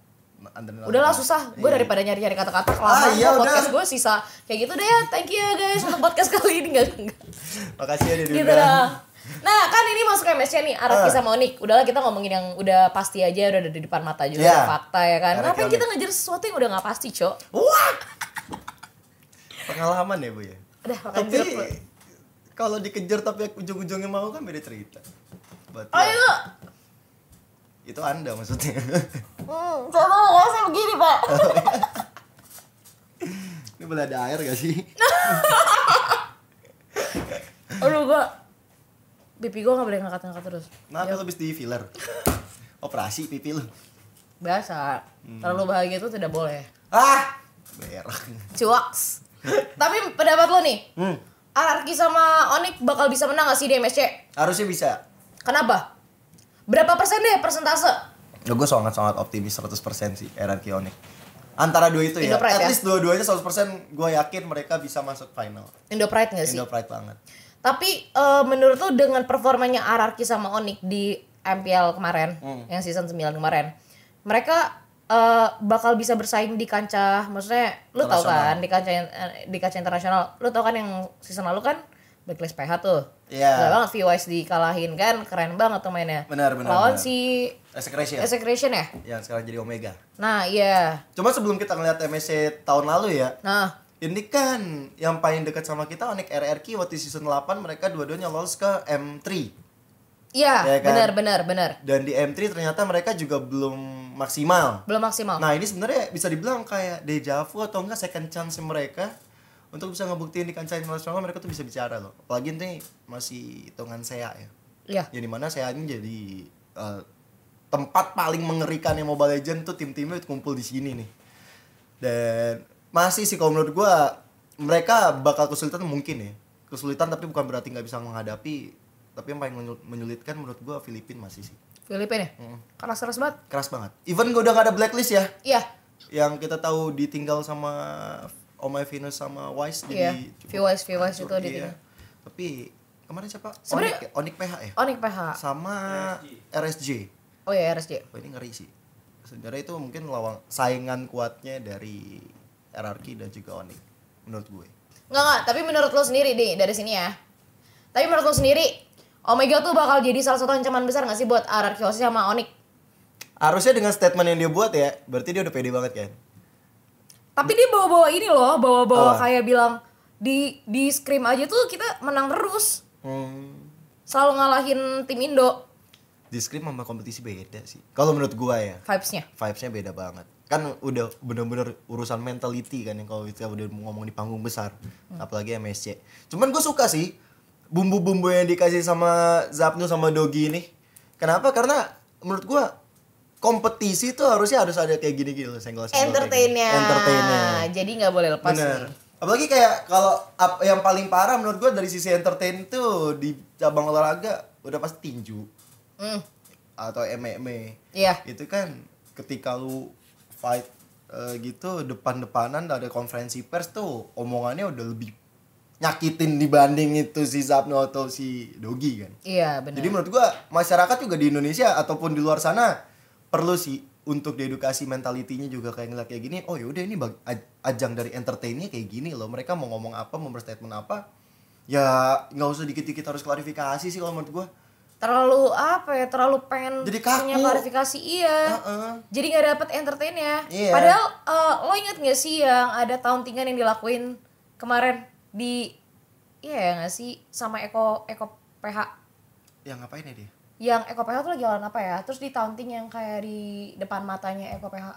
B: adrenalin
A: Udahlah susah, gue
B: Iya.
A: daripada nyari-nyari
B: Ah,
A: kata-kata kelamaan
B: iya, udah.
A: gua podcast gue sisa kayak gitu deh ya. Thank you ya guys untuk podcast kali ini enggak enggak.
B: makasih ya
A: gitu
B: diundang.
A: dah. Nah kan ini masuk MSC nih Araki
B: Ah.
A: sama Onik Udahlah kita ngomongin yang udah pasti aja Udah ada di depan mata juga
B: Iya.
A: udah fakta ya kan
B: Araki
A: Ngapain kita
B: Onik.
A: ngejar sesuatu yang udah gak pasti cok
B: Wah. Pengalaman ya, Bu ya.
A: Udah makan
B: Tapi
A: jeruk lu.
B: kalau dikejar tapi ujung-ujungnya mau kan beda cerita. Berarti
A: Oh
B: ya,
A: iya lu
B: itu Anda maksudnya.
A: Hmm Saya mau ngomong saya begini pak
B: Ini boleh ada air gak sih?
A: Nah. Aduh gue Pipi gue gak boleh ngangkat-ngangkat terus
B: Kenapa lu habis di filler? Operasi pipi lu.
A: Biasa
B: Hmm.
A: Terlalu bahagia itu tidak boleh
B: Ah, berak.
A: Cuaks Tapi pendapat lo nih
B: Hmm,
A: Araki sama Onik bakal bisa menang gak sih di MSC?
B: harusnya bisa.
A: Kenapa? Berapa persen deh persentase?
B: Ya, gue sangat-sangat optimis 100% sih Eran Kionik. Antara dua itu ya.
A: Indopride
B: At
A: ya?
B: least dua-duanya 100% gue yakin mereka bisa masuk final.
A: Indo Pride gak Iya sih?
B: Indo Pride banget.
A: Tapi eh, menurut lu dengan performanya Ararki sama Onik di MPL kemarin,
B: Hmm.
A: yang season 9 kemarin, mereka eh, bakal bisa bersaing di kancah, maksudnya lu tau
B: Internasional.
A: kan di kancah eh, di kancah internasional. Lu tau kan yang season lalu kan Blacklist PH tuh.
B: Iya.
A: Gila banget VYS dikalahin kan, keren banget tuh mainnya.
B: Benar, benar,
A: Lawan
B: benar. Iya.
A: si
B: Execration
A: Execration ya?
B: yang sekarang jadi Omega.
A: Nah, iya.
B: Cuma sebelum kita ngeliat MSC tahun lalu ya,
A: Nah,
B: ini kan yang paling dekat sama kita Onik RRQ waktu season 8 mereka dua-duanya lolos ke M3. Iya
A: iya,
B: kan?
A: benar benar benar.
B: Dan di M3 ternyata mereka juga belum maksimal.
A: Belum maksimal.
B: Nah, ini sebenarnya bisa dibilang kayak deja vu atau enggak second chance mereka untuk bisa ngebuktiin di kancah internasional mereka tuh bisa bicara loh. Apalagi ini masih hitungan SEA ya.
A: Iya.
B: Yang dimana SEA ini jadi eh, tempat paling mengerikan yang Mobile Legends tuh tim-timnya kumpul di sini nih. Dan masih sih kalau menurut gua mereka bakal kesulitan mungkin ya. Kesulitan tapi bukan berarti nggak bisa menghadapi. Tapi yang paling menyul- menyulitkan menurut gua Filipina masih sih.
A: Filipina ya?
B: Hmm.
A: Keras keras banget.
B: Keras banget. Even gua udah gak ada blacklist ya.
A: Iya,
B: Yang kita tahu ditinggal sama Om Venus sama Wise
A: Iya,
B: jadi cukup
A: VYS VYS itu
B: hancur,
A: di
B: iya. Tapi kemarin siapa?
A: Sebenarnya- Iya.
B: Onik, ya? Onik PH ya?
A: Onik PH.
B: Sama RSJ.
A: Oh ya RSJ.
B: Wah ini ngeri sih. Sebenarnya itu mungkin lawan saingan kuatnya dari RRQ dan juga Onik menurut gue.
A: Nggak nggak, tapi menurut lo sendiri nih dari sini ya. Tapi menurut lo sendiri Omega tuh bakal jadi salah satu ancaman besar nggak sih buat Ararkios sama Onik?
B: Harusnya dengan statement yang dia buat ya, berarti dia udah pede banget kan?
A: Tapi dia bawa-bawa ini loh, bawa-bawa
B: Apa?
A: kayak bilang di di scrim aja tuh kita menang terus,
B: Hmm.
A: selalu ngalahin tim Indo
B: Di scrim sama kompetisi beda sih. Kalau menurut gue ya,
A: vibesnya.
B: vibesnya beda banget. Kan udah bener-bener urusan mentality kan yang kalau kita udah ngomong di panggung besar, apalagi MSC. Cuman gue suka sih bumbu-bumbu yang dikasih sama Zapnu sama Dogi ini. Kenapa? Karena menurut gue kompetisi tuh harusnya harus ada kayak gini gitu senggol
A: Entertainnya.
B: entertainnya
A: Jadi nggak boleh lepas.
B: bener
A: nih.
B: apalagi kayak kalau ap- yang paling parah menurut gue dari sisi entertain tuh di cabang olahraga udah pasti tinju
A: Hmm,
B: atau MMA
A: Iya.
B: itu kan ketika lu fight eh, gitu depan-depanan ada konferensi pers tuh omongannya udah lebih nyakitin dibanding itu si Zapno atau si Dogi kan.
A: Iya benar.
B: Jadi menurut gua masyarakat juga di Indonesia ataupun di luar sana perlu sih untuk diedukasi mentalitinya juga kayak ngeliat kayak gini. Oh yaudah ini bag- aj- ajang dari entertainnya kayak gini loh. Mereka mau ngomong apa, mau berstatement apa. Ya nggak usah dikit-dikit harus klarifikasi sih kalau menurut gua.
A: terlalu apa ya terlalu pengen
B: Jadi kaku.
A: punya klarifikasi iya
B: Heeh.
A: jadi nggak dapet entertain ya
B: Iya.
A: padahal eh, lo inget gak sih yang ada tauntingan yang dilakuin kemarin di iya ya gak sih sama Eko Eko PH
B: Ya ngapain ya dia?
A: yang Eko PH tuh lagi lawan apa ya terus di taunting yang kayak di depan matanya Eko PH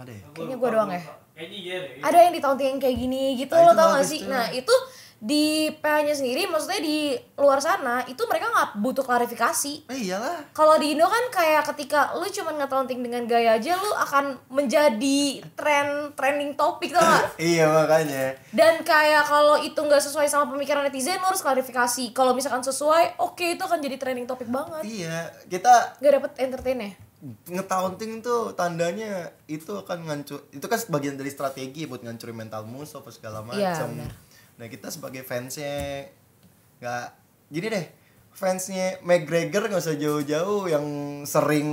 B: Ada ya?
A: Kayaknya gua doang ya?
D: Kayaknya iya deh.
A: ada yang ditaunting yang kayak gini gitu
B: Ah,
A: lo
B: itu
A: tau gak
B: bagus
A: sih
B: tuh.
A: nah itu di PH-nya sendiri maksudnya di luar sana itu mereka nggak butuh klarifikasi
B: Eh iyalah.
A: kalau di Indo kan kayak ketika lu cuman ngetelonting dengan gaya aja lu akan menjadi tren trending topik tau gak?
B: Iya makanya.
A: Dan kayak kalau itu nggak sesuai sama pemikiran netizen lu harus klarifikasi. Kalau misalkan sesuai, oke itu akan jadi trending topik banget.
B: Iya, kita
A: Gak dapet entertain ya?
B: ngetaunting tuh tandanya itu akan ngancur itu kan bagian dari strategi buat ngancurin mental musuh apa segala macam
A: Iya, benar.
B: nah kita sebagai fansnya nggak gini deh fansnya McGregor nggak usah jauh-jauh yang sering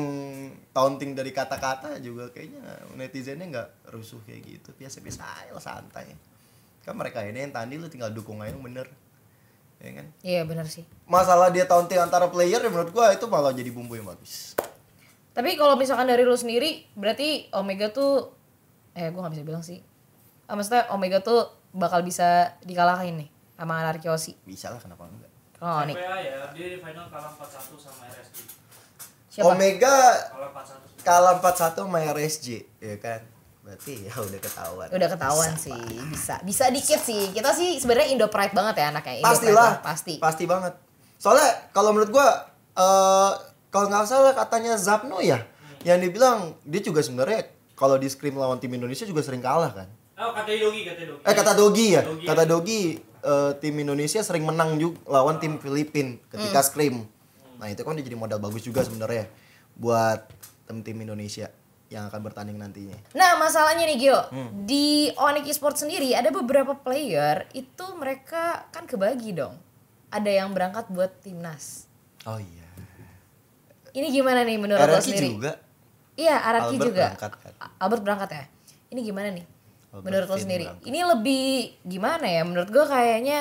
B: taunting dari kata-kata juga kayaknya netizennya nggak rusuh kayak gitu biasa-biasa aja lah, santai kan mereka ini yang tadi lu tinggal dukung aja yang bener ya kan
A: Iya benar sih.
B: masalah dia taunting antara player ya menurut gua itu malah jadi bumbu yang bagus
A: Tapi kalau misalkan dari lu sendiri, berarti Omega tuh eh gua nggak bisa bilang sih. Ah, maksudnya Omega tuh bakal bisa dikalahin nih sama Anarchy Osi.
B: bisa lah kenapa enggak
A: Oh nih.
D: MPA ya, dia di final kalah 4-1 sama RSD.
A: Siapa?
B: Omega
D: Kalah
B: kalah 4-1
D: 4-1.
B: sama RSJ ya kan berarti ya udah ketahuan
A: Udah ketahuan sih, bisa. Bisa dikit sih. Kita sih sebenarnya Indo Pride banget ya anaknya. Indo
B: pastilah
A: Pride banget, pasti.
B: pasti banget soalnya kalau menurut gua eh kalau nggak salah katanya Zapno ya yang dibilang dia juga sebenarnya kalau di scrim lawan tim Indonesia juga sering kalah kan
D: Oh, kata Dogi, kata Dogi.
B: eh kata Dogi ya
D: Dogi.
B: kata Dogi eh, tim Indonesia sering menang juga lawan tim Filipin ketika scrim nah itu kan dia jadi modal bagus juga sebenarnya buat tim-tim Indonesia yang akan bertanding nantinya
A: Nah, masalahnya nih Gio,
B: Hmm.
A: di Onyx Esports sendiri ada beberapa player itu mereka kan kebagi dong. Ada yang berangkat buat timnas.
B: oh iya
A: Ini gimana nih menurut lo
B: RRQ
A: sendiri?
B: juga
A: Iya, Araki
B: Albert
A: juga.
B: berangkat kan?
A: A- Albert berangkat ya. Ini gimana nih?
B: Albert
A: menurut lo
B: Finn
A: sendiri.
B: berangkat.
A: Ini lebih gimana ya? Menurut gue kayaknya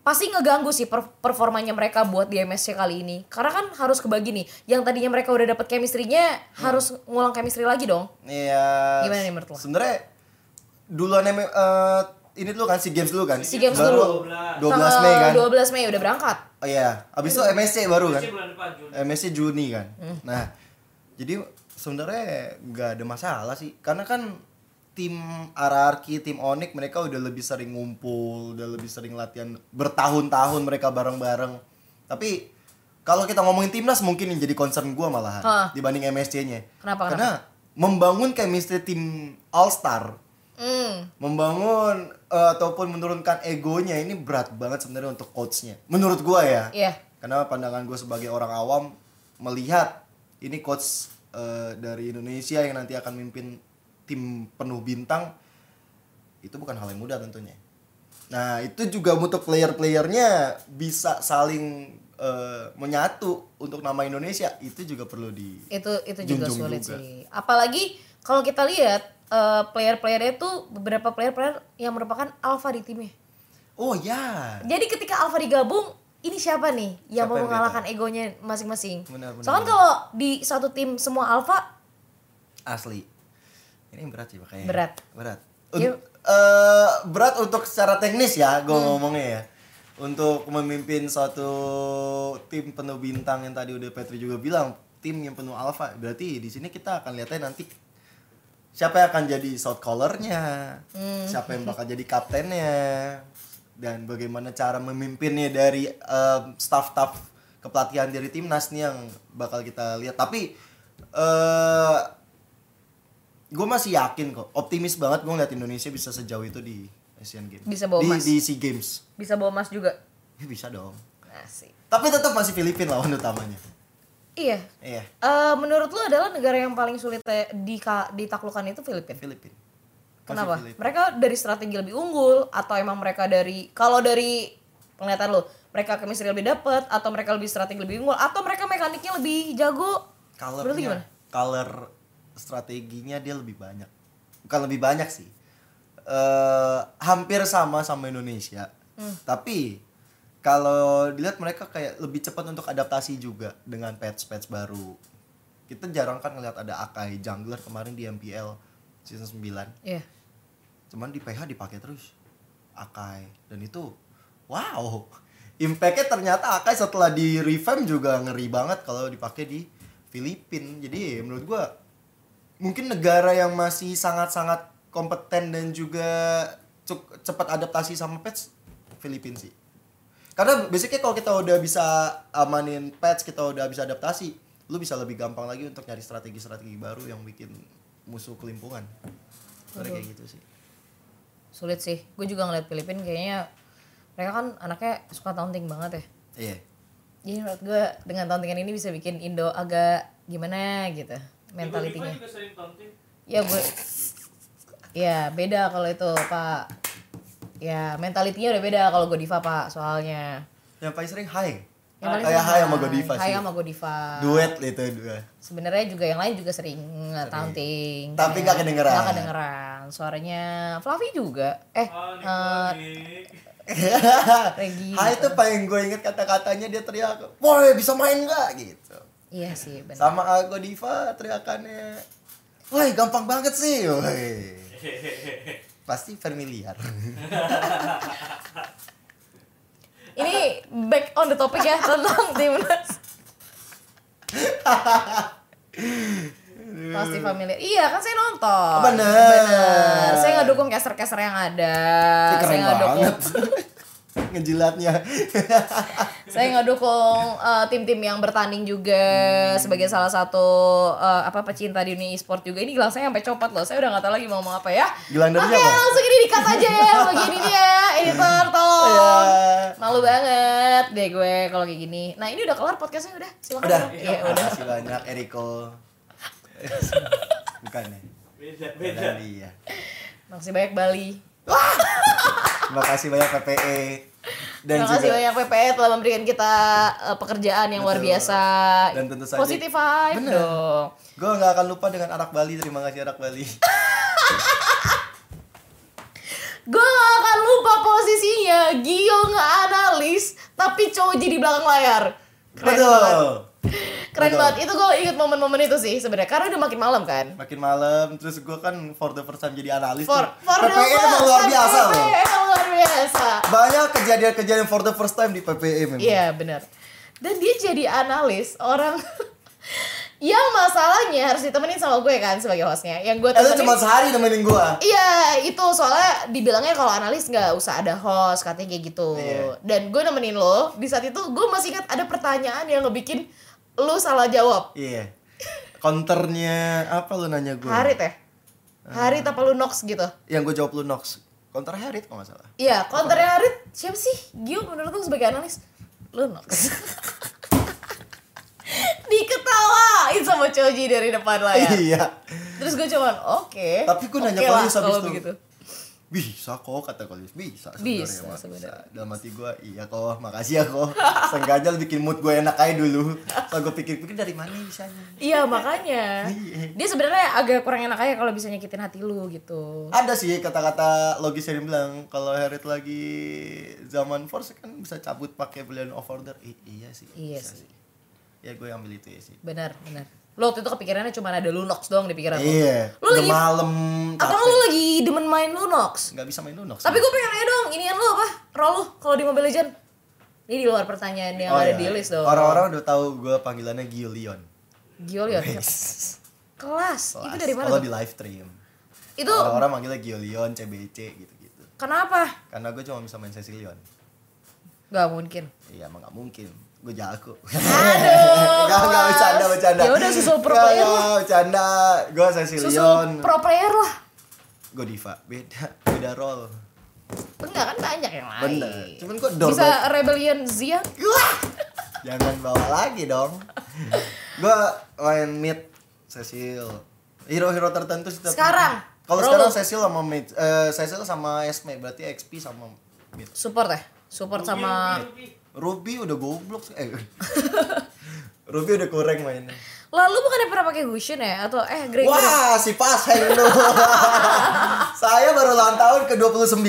A: pasti ngeganggu sih per- performanya mereka buat di MSC kali ini. Karena kan harus kebagi nih. Yang tadinya mereka udah dapet chemistry-nya
B: Hmm.
A: harus ngulang chemistry lagi dong.
B: Iya.
A: Gimana nih menurut lo?
B: Sebenarnya duluan em- eh, ini dulu kan si Games dulu kan?
A: SEA Games
B: baru
D: dulu.
B: 12 Mei kan?
A: 12 Mei udah berangkat.
B: Oh iya, habis itu MSC baru kan?
D: Masih bulan depan, Juni.
B: MSC Juni kan.
A: Hmm.
B: Nah, jadi sebenarnya nggak ada masalah sih, karena kan tim Ararki, tim Onik mereka udah lebih sering ngumpul, udah lebih sering latihan bertahun-tahun mereka bareng-bareng. Tapi kalau kita ngomongin timnas mungkin yang jadi concern gua malahan
A: Hah.
B: dibanding MSC-nya.
A: Kenapa,
B: Karena membangun chemistry tim All Star,
A: Hmm.
B: membangun eh, ataupun menurunkan egonya ini berat banget sebenarnya untuk coachnya. Menurut gua ya
A: Iya.
B: karena pandangan gue sebagai orang awam melihat ini coach eh, dari Indonesia yang nanti akan mimpin tim penuh bintang itu bukan hal yang mudah tentunya nah itu juga untuk player-playernya bisa saling eh, menyatu untuk nama Indonesia itu juga perlu di
A: Itu itu juga
B: Junjung
A: sulit
B: juga.
A: sih. Apalagi kalau kita lihat eh, player-playernya itu beberapa player-player yang merupakan alpha di timnya.
B: oh ya
A: Jadi ketika Alfa digabung, ini siapa nih yang
B: Siapa
A: mau
B: yang
A: mengalahkan egonya masing-masing?
B: Benar, benar,
A: Soalnya
B: benar.
A: kalau di satu tim semua Alfa,
B: asli ini berat sih makanya
A: Berat.
B: berat
A: Iya. Hmm.
B: Un- eh, berat untuk secara teknis ya gue ngomongnya ya untuk memimpin suatu tim penuh bintang yang tadi udah Petri juga bilang tim yang penuh alfa berarti di sini kita akan lihatnya nanti siapa yang akan jadi shot callernya
A: Hmm.
B: siapa yang bakal jadi kaptennya dan bagaimana cara memimpinnya dari em, staff-staff kepelatihan dari timnas nih yang bakal kita lihat tapi eh gue masih yakin kok optimis banget gue ngeliat Indonesia bisa sejauh itu di Asian Games
A: Bisa bawa
B: di,
A: emas.
B: di Sea Games
A: bisa bawa emas juga. Nah,
B: Ih, bisa dong
A: Asik.
B: tapi tetap masih Filipina lawan utamanya
A: Iya.
B: iya
A: Eh, menurut lu adalah negara yang paling sulit eh, dika- ditaklukkan itu Filipina.
B: Filipina Masih
A: Kenapa?
B: Filipina.
A: Mereka dari strategi lebih unggul atau emang mereka dari kalau dari penglihatan lu, mereka chemistry lebih dapet atau mereka lebih strategi lebih unggul atau mereka mekaniknya lebih jago? Menurut lu
B: colornya
A: gimana?
B: color strateginya dia lebih banyak bukan lebih banyak sih eh hampir sama sama Indonesia
A: Hmm.
B: tapi kalau dilihat mereka kayak lebih cepat untuk adaptasi juga dengan patch patch baru kita jarang kan ngelihat ada Akai jungler kemarin di MPL season 9
A: Iya.
B: cuman di PH dipakai terus Akai dan itu wow impactnya ternyata Akai setelah di revamp juga ngeri banget kalau dipakai di Filipin jadi menurut gua mungkin negara yang masih sangat-sangat kompeten dan juga cuk- cepat adaptasi sama patch Filipin sih. Karena basically kalau kita udah bisa amanin patch, kita udah bisa adaptasi, lu bisa lebih gampang lagi untuk nyari strategi-strategi baru yang bikin musuh kelimpungan. Karena kayak gitu sih.
A: Sulit sih. Gue juga ngeliat Filipin kayaknya mereka kan anaknya suka taunting banget ya.
B: Iya.
A: Jadi menurut gue dengan tauntingan ini bisa bikin Indo agak gimana gitu
D: Ibu-ibu
A: mentalitinya.
D: kan juga sering taunting.
A: Ya gue Ya beda kalau itu Pak Ya mentalitinya udah beda kalau Godiva Pak soalnya
B: Yang paling sering high.
A: Yang paling
B: Kayak
A: sering
B: high sama
A: Hai.
B: Godiva
A: Hai
B: sih.
A: sama Godiva
B: Ah. Duet itu dua.
A: Sebenarnya juga yang lain juga sering eh, taunting
B: Tapi
A: Kayak-
B: nggak kedengeran.
A: nggak kedengeran Suaranya Fluffy juga Eh
D: Ah,
A: eh,
D: nih, nih.
A: Regi
B: Hai itu paling gue inget kata-katanya dia teriak, "Woi, bisa main gak?" gitu.
A: Iya sih benar
B: Sama Algo Diva teriakannya, "Woi, gampang banget sih." Woi. Pasti familiar.
A: Ini back on the topic ya tentang timnas Pasti familiar. Iya kan saya nonton.
B: Oh, bener.
A: Saya nggak dukung caster-caster yang ada.
B: Ini
A: Ah, saya
B: keren
A: nggak dukung.
B: banget. Ngejilatnya.
A: Saya nggak dukung eh, tim-tim yang bertanding juga
B: Hmm.
A: sebagai salah satu eh, apa pecinta di dunia e-sport juga. Ini gelang saya sampai copot loh. Saya udah nggak tahu lagi mau ngomong apa ya.
B: Gelandernya
A: Oke,
B: apa?
A: langsung ini dikat aja ya. Begini dia,
B: Iya.
A: editor tolong.
B: Ya.
A: Malu banget deh gue kalau kayak gini. Nah, ini udah kelar podcastnya udah. Silakan.
B: Udah.
A: Iya, udah.
B: Makasih banyak Eriko. Bukan ya.
D: Beda, beda.
B: Bukan dia.
A: Makasih banyak Bali.
B: Terima kasih banyak PPE dan
A: Terima kasih
B: juga
A: banyak PPE telah memberikan kita eh, pekerjaan yang luar
B: Betul.
A: biasa.
B: Dan tentu saja-
A: positive vibe
B: Bener.
A: dong.
B: gue nggak akan lupa dengan anak Bali. Terima kasih anak Bali.
A: Gue gak akan lupa posisinya Gio nge-analis tapi cowok jadi belakang layar. Keren banget.
B: Betul.
A: Keren
B: Betul.
A: banget. Itu gue inget momen-momen itu sih sebenarnya karena udah makin malam kan.
B: Makin malam, terus gue kan for the first time jadi analis.
A: For
B: tuh.
A: for
B: PPE E emang luar biasa loh.
A: PPE E emang luar biasa.
B: Banyak kejadian-kejadian for the first time di PPE memang.
A: Iya benar. Dan dia jadi analis orang yang masalahnya harus ditemenin sama gue kan sebagai hostnya. Yang gue
B: Eh, lu
A: temenin-
B: cuma sehari nemenin gue.
A: Iya itu soalnya dibilangnya kalau analis nggak usah ada host katanya kayak gitu.
B: Iya.
A: Dan gue nemenin lo di saat itu gue masih ingat ada pertanyaan yang ngebikin lo salah jawab.
B: Iya. Counternya apa lu nanya gue?
A: Harit ya?
B: Ah.
A: Harit apa lu Nox gitu?
B: Yang gue jawab lu Nox. Counter Harit kalau nggak salah.
A: Iya, konternya Harit siapa sih? Gio menurut lo sebagai analis lu Nox. Diketawain sama Choji dari depan layar.
B: Iya.
A: Terus gue cuman oke.
B: Tapi gue nanya
A: oke lah
B: Kolius habis
A: kalau
B: itu.
A: begitu.
B: Bisa kok kata Kolis. Bisa
A: Bisa
B: Mak.
A: sebenarnya.
B: Bisa. Dalam hati gue, iya kok. Makasih ya kok. Sengaja lu bikin mood gue enak aja dulu. Soalnya gue pikir-pikir dari mana bisanya.
A: Iya makanya.
B: Iya.
A: Dia sebenarnya agak kurang enak aja kalau bisa nyakitin hati lu gitu.
B: Ada sih kata-kata logis yang bilang kalau Harit lagi zaman force kan bisa cabut pakai belian of order. I- iya sih.
A: Iya
B: bisa
A: sih.
B: Ya gue ambil itu ya sih.
A: Benar, benar. Lo waktu itu kepikirannya cuma ada Lunox doang di pikiran lo.
B: Iya.
A: Lu
B: Udah
A: lagi-
B: malam.
A: Atau lo lagi demen main Lunox?
B: Gak bisa main Unox.
A: Tapi gue pengen nanya dong, inian lo apa? Role lo kalau di Mobile Legend? Ini di luar pertanyaan yang ada
B: iya.
A: di list dong.
B: Orang-orang udah tahu gue panggilannya Gio Leon.
A: Gio liat. ya. Kelas. Itu dari mana?
B: Kalau
A: tuh?
B: di live stream.
A: Itu
B: Orang-orang manggilnya Gio Leon, CBC gitu-gitu.
A: kenapa?
B: Karena gue cuma bisa main Cecilion.
A: Gak mungkin.
B: Iya emang gak mungkin. Gue jago.
A: Aduh.
B: Gak, gak, bercanda, bercanda.
A: Ya udah susul pro
B: Gak,
A: player
B: gak,
A: lah.
B: bercanda. Gue Cecilion.
A: Susul pro player lah.
B: gue diva beda beda role
A: Enggak kan banyak yang lain.
B: Bener. Cuman kok door
A: Bisa Rebellion Zia?
B: jangan bawa lagi dong gue main mid Cecil hero hero tertentu sih tapi-
A: Sekarang?
B: kalau sekarang
A: Role lu?
B: Cecil sama mid eh, Cecil sama Esme berarti XP sama mid
A: Support ya? Support sama
D: Rugi, rugi.
B: Ruby udah goblok sih. eh Ruby udah kurang mainnya
A: Lalu bukannya pernah pakai Gushin ya atau eh Grey
B: iya. Wah, si pas lu. Saya baru ulang tahun ke-29.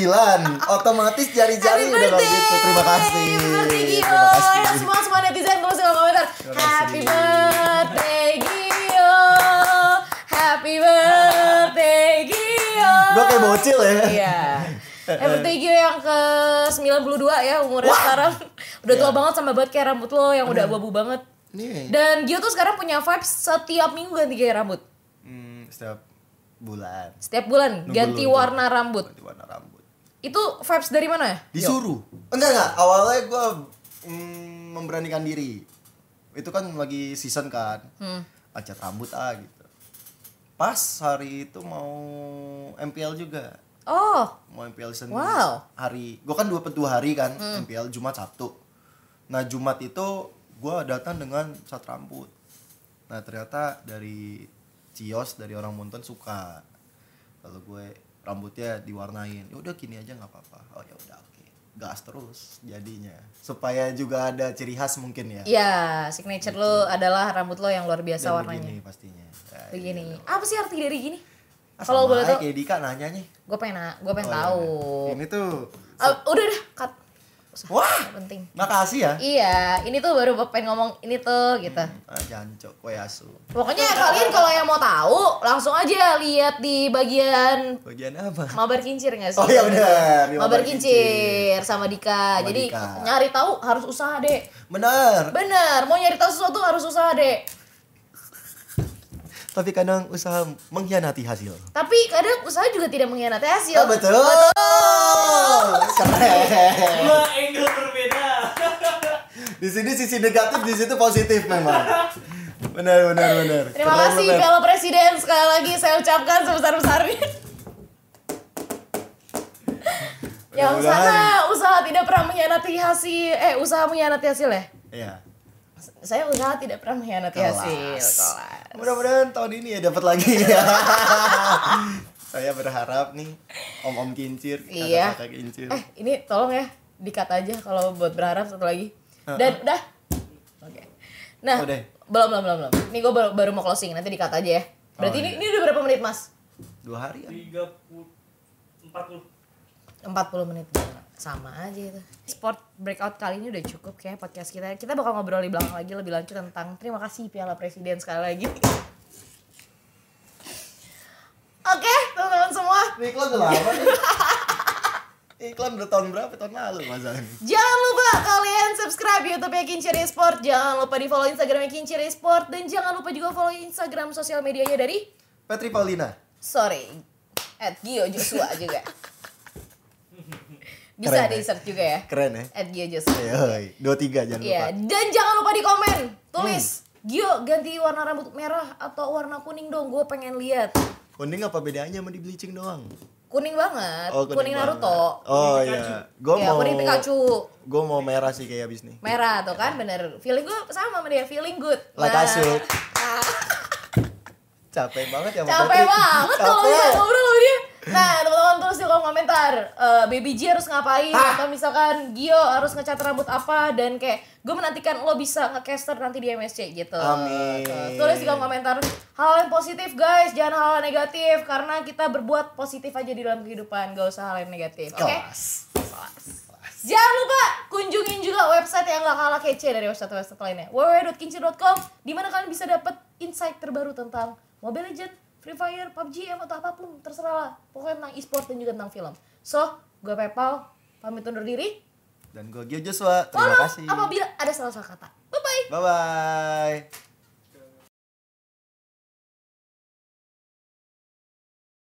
B: Otomatis jari-jari udah kalau gitu. Terima kasih. Terima kasih.
A: Semua semua netizen tulis dalam komentar.
B: Terima kasih.
A: Happy birthday Gio. Happy birthday Gio.
B: Gue kayak bocil ya.
A: Iya. Happy birthday Gio yang ke 92 ya umurnya sekarang. Udah
B: Iya.
A: tua banget sama banget kayak rambut lo yang udah abu-abu banget.
B: Nih.
A: Dan Gio tuh sekarang punya vibes setiap minggu ganti gaya rambut.
B: Hmm, setiap bulan
A: Setiap bulan
B: Nunggu
A: ganti
B: lu tuh.
A: warna rambut.
B: ganti warna rambut.
A: Itu vibes dari mana ya?
B: disuruh enggak enggak awalnya gue memberanikan diri itu kan lagi season kan
A: Hmm.
B: acat rambut ah gitu pas hari itu mau MPL juga
A: Oh,
B: mau MPL season
A: Wow. Hmm.
B: hari gue kan dua dua hari kan MPL Jumat Sabtu nah Jumat itu gue datang dengan cat rambut nah ternyata dari Cios dari orang Monton suka kalau gue rambutnya diwarnain ya udah gini aja nggak apa-apa oh ya udah oke gas terus jadinya supaya juga ada ciri khas mungkin ya
A: iya, signature lo adalah rambut lo yang luar biasa
B: Dan
A: warnanya.
B: Gitu. begini pastinya Ya,
A: Begini. Apa sih arti dari gini?
B: ah, sama
A: Kalau boleh
B: aja
A: tahu,
B: kayak Dika nanya nih
A: gue pengen gue pengen
B: Oh, iya,
A: tahu.
B: iya. ini tuh
A: Ah, udah udah, cut. Usah,
B: Wah!
A: nggak penting.
B: makasih ya
A: Iya, ini tuh baru pengen ngomong ini tuh gitu.
B: ah, jancok kue asu Iya.
A: Pokoknya kalian kalau yang mau tahu langsung aja lihat di bagian
B: bagian apa
A: Mabar Kincir nggak sih?
B: Oh, iya benar, di
A: Mabar
B: Mabar
A: Kincir sama Dika.
B: Sama
A: Jadi
B: Dika.
A: nyari tahu harus usaha, Dek.
B: Benar.
A: Bener, mau nyari tahu sesuatu harus usaha, Dek.
B: Tapi kadang usaha mengkhianati hasil.
A: Tapi kadang usaha juga tidak mengkhianati
B: Ah,
A: hasil.
B: betul. Keren.
D: Dua angle berbeda.
B: Di sini sisi negatif, di situ positif memang. Benar, benar, benar.
A: Terima
B: Keren,
A: kasih
B: benar.
A: kalau presiden sekali lagi saya ucapkan sebesar-besarnya. Yang
B: Mudah-mudahan.
A: sana Ya, usaha tidak pernah mengkhianati hasil. Eh, usaha mengkhianati hasil ya?
B: Iya.
A: Saya usaha tidak pernah mengkhianati hasil. Kelas.
B: Mudah-mudahan tahun ini ya dapat lagi. Saya berharap nih om-om kincir,
A: Iya.
B: kakak-kakak kincir.
A: Eh, ini tolong ya dikat aja kalau buat berharap satu lagi. Dan udah. Oke. Nah,
B: Udah.
A: belum belum belum belum. Ini gue baru, baru mau closing, nanti dikat aja ya. Berarti
B: Oh,
A: ini ini udah berapa menit, Mas?
B: Dua hari ya.
D: Tiga puluh empat puluh.
A: 40 menit sama aja itu. Sport breakout kali ini udah cukup kayak podcast kita. Kita bakal ngobrol di belakang lagi lebih lanjut tentang terima kasih Piala Presiden sekali lagi. Oke, teman-teman semua.
B: Ini Iklan udah lama nih. Iklan udah tahun berapa? Tahun lalu masalahnya.
A: Jangan lupa kalian subscribe YouTube-nya Kincir Sport. Jangan lupa di follow Instagramnya Kincir Sport dan jangan lupa juga follow Instagram sosial medianya dari
B: Petri Paulina.
A: sorry at Gio Joshua juga. Bisa
B: Keren,
A: di
B: ya?
A: search juga ya
B: Keren ya.
A: at Gio Joshua.
B: Yoi, dua tiga eh, jangan lupa. Hmm.
A: Iya, dan jangan lupa di komen tulis Gio ganti warna rambut merah atau warna kuning dong, gue pengen lihat.
B: Kuning apa bedanya sama di bleaching doang?
A: Kuning banget,
B: Oh,
A: kuning, Naruto.
B: banget. Oh iya. Gue
A: ya,
B: mau
A: kuning Pikachu.
B: Gue mau merah sih kayak abis nih.
A: Merah tuh kan bener. Feeling gue sama sama dia, feeling good.
B: Like ya.
A: Nah.
B: asik. Capek banget ya sama
A: capek
B: Patrick.
A: banget kalau
B: Capek.
A: udah ngobrol sama dia nah teman-teman terus di kolom komentar eh, baby G harus ngapain atau misalkan Gio harus ngecat rambut apa dan kayak gue menantikan lo bisa ngecaster nanti di MSC gitu
B: Amin.
A: Terus tulis di kolom komentar hal yang positif guys jangan hal yang negatif karena kita berbuat positif aja di dalam kehidupan gak usah hal yang negatif oke
B: Kelas.
A: Jangan lupa kunjungin juga website yang gak kalah kece dari website-website lainnya www.kincir.com di mana kalian bisa dapat insight terbaru tentang Mobile Legends, Free Fire, PUBG, em, atau apapun terserah lah pokoknya tentang e-sport dan juga tentang film so, gue Pepal, pamit undur diri
B: Dan gue Gio Joshua. Terima
A: Mohon maaf
B: kasih.
A: apabila ada salah-salah kata bye-bye
B: Bye bye.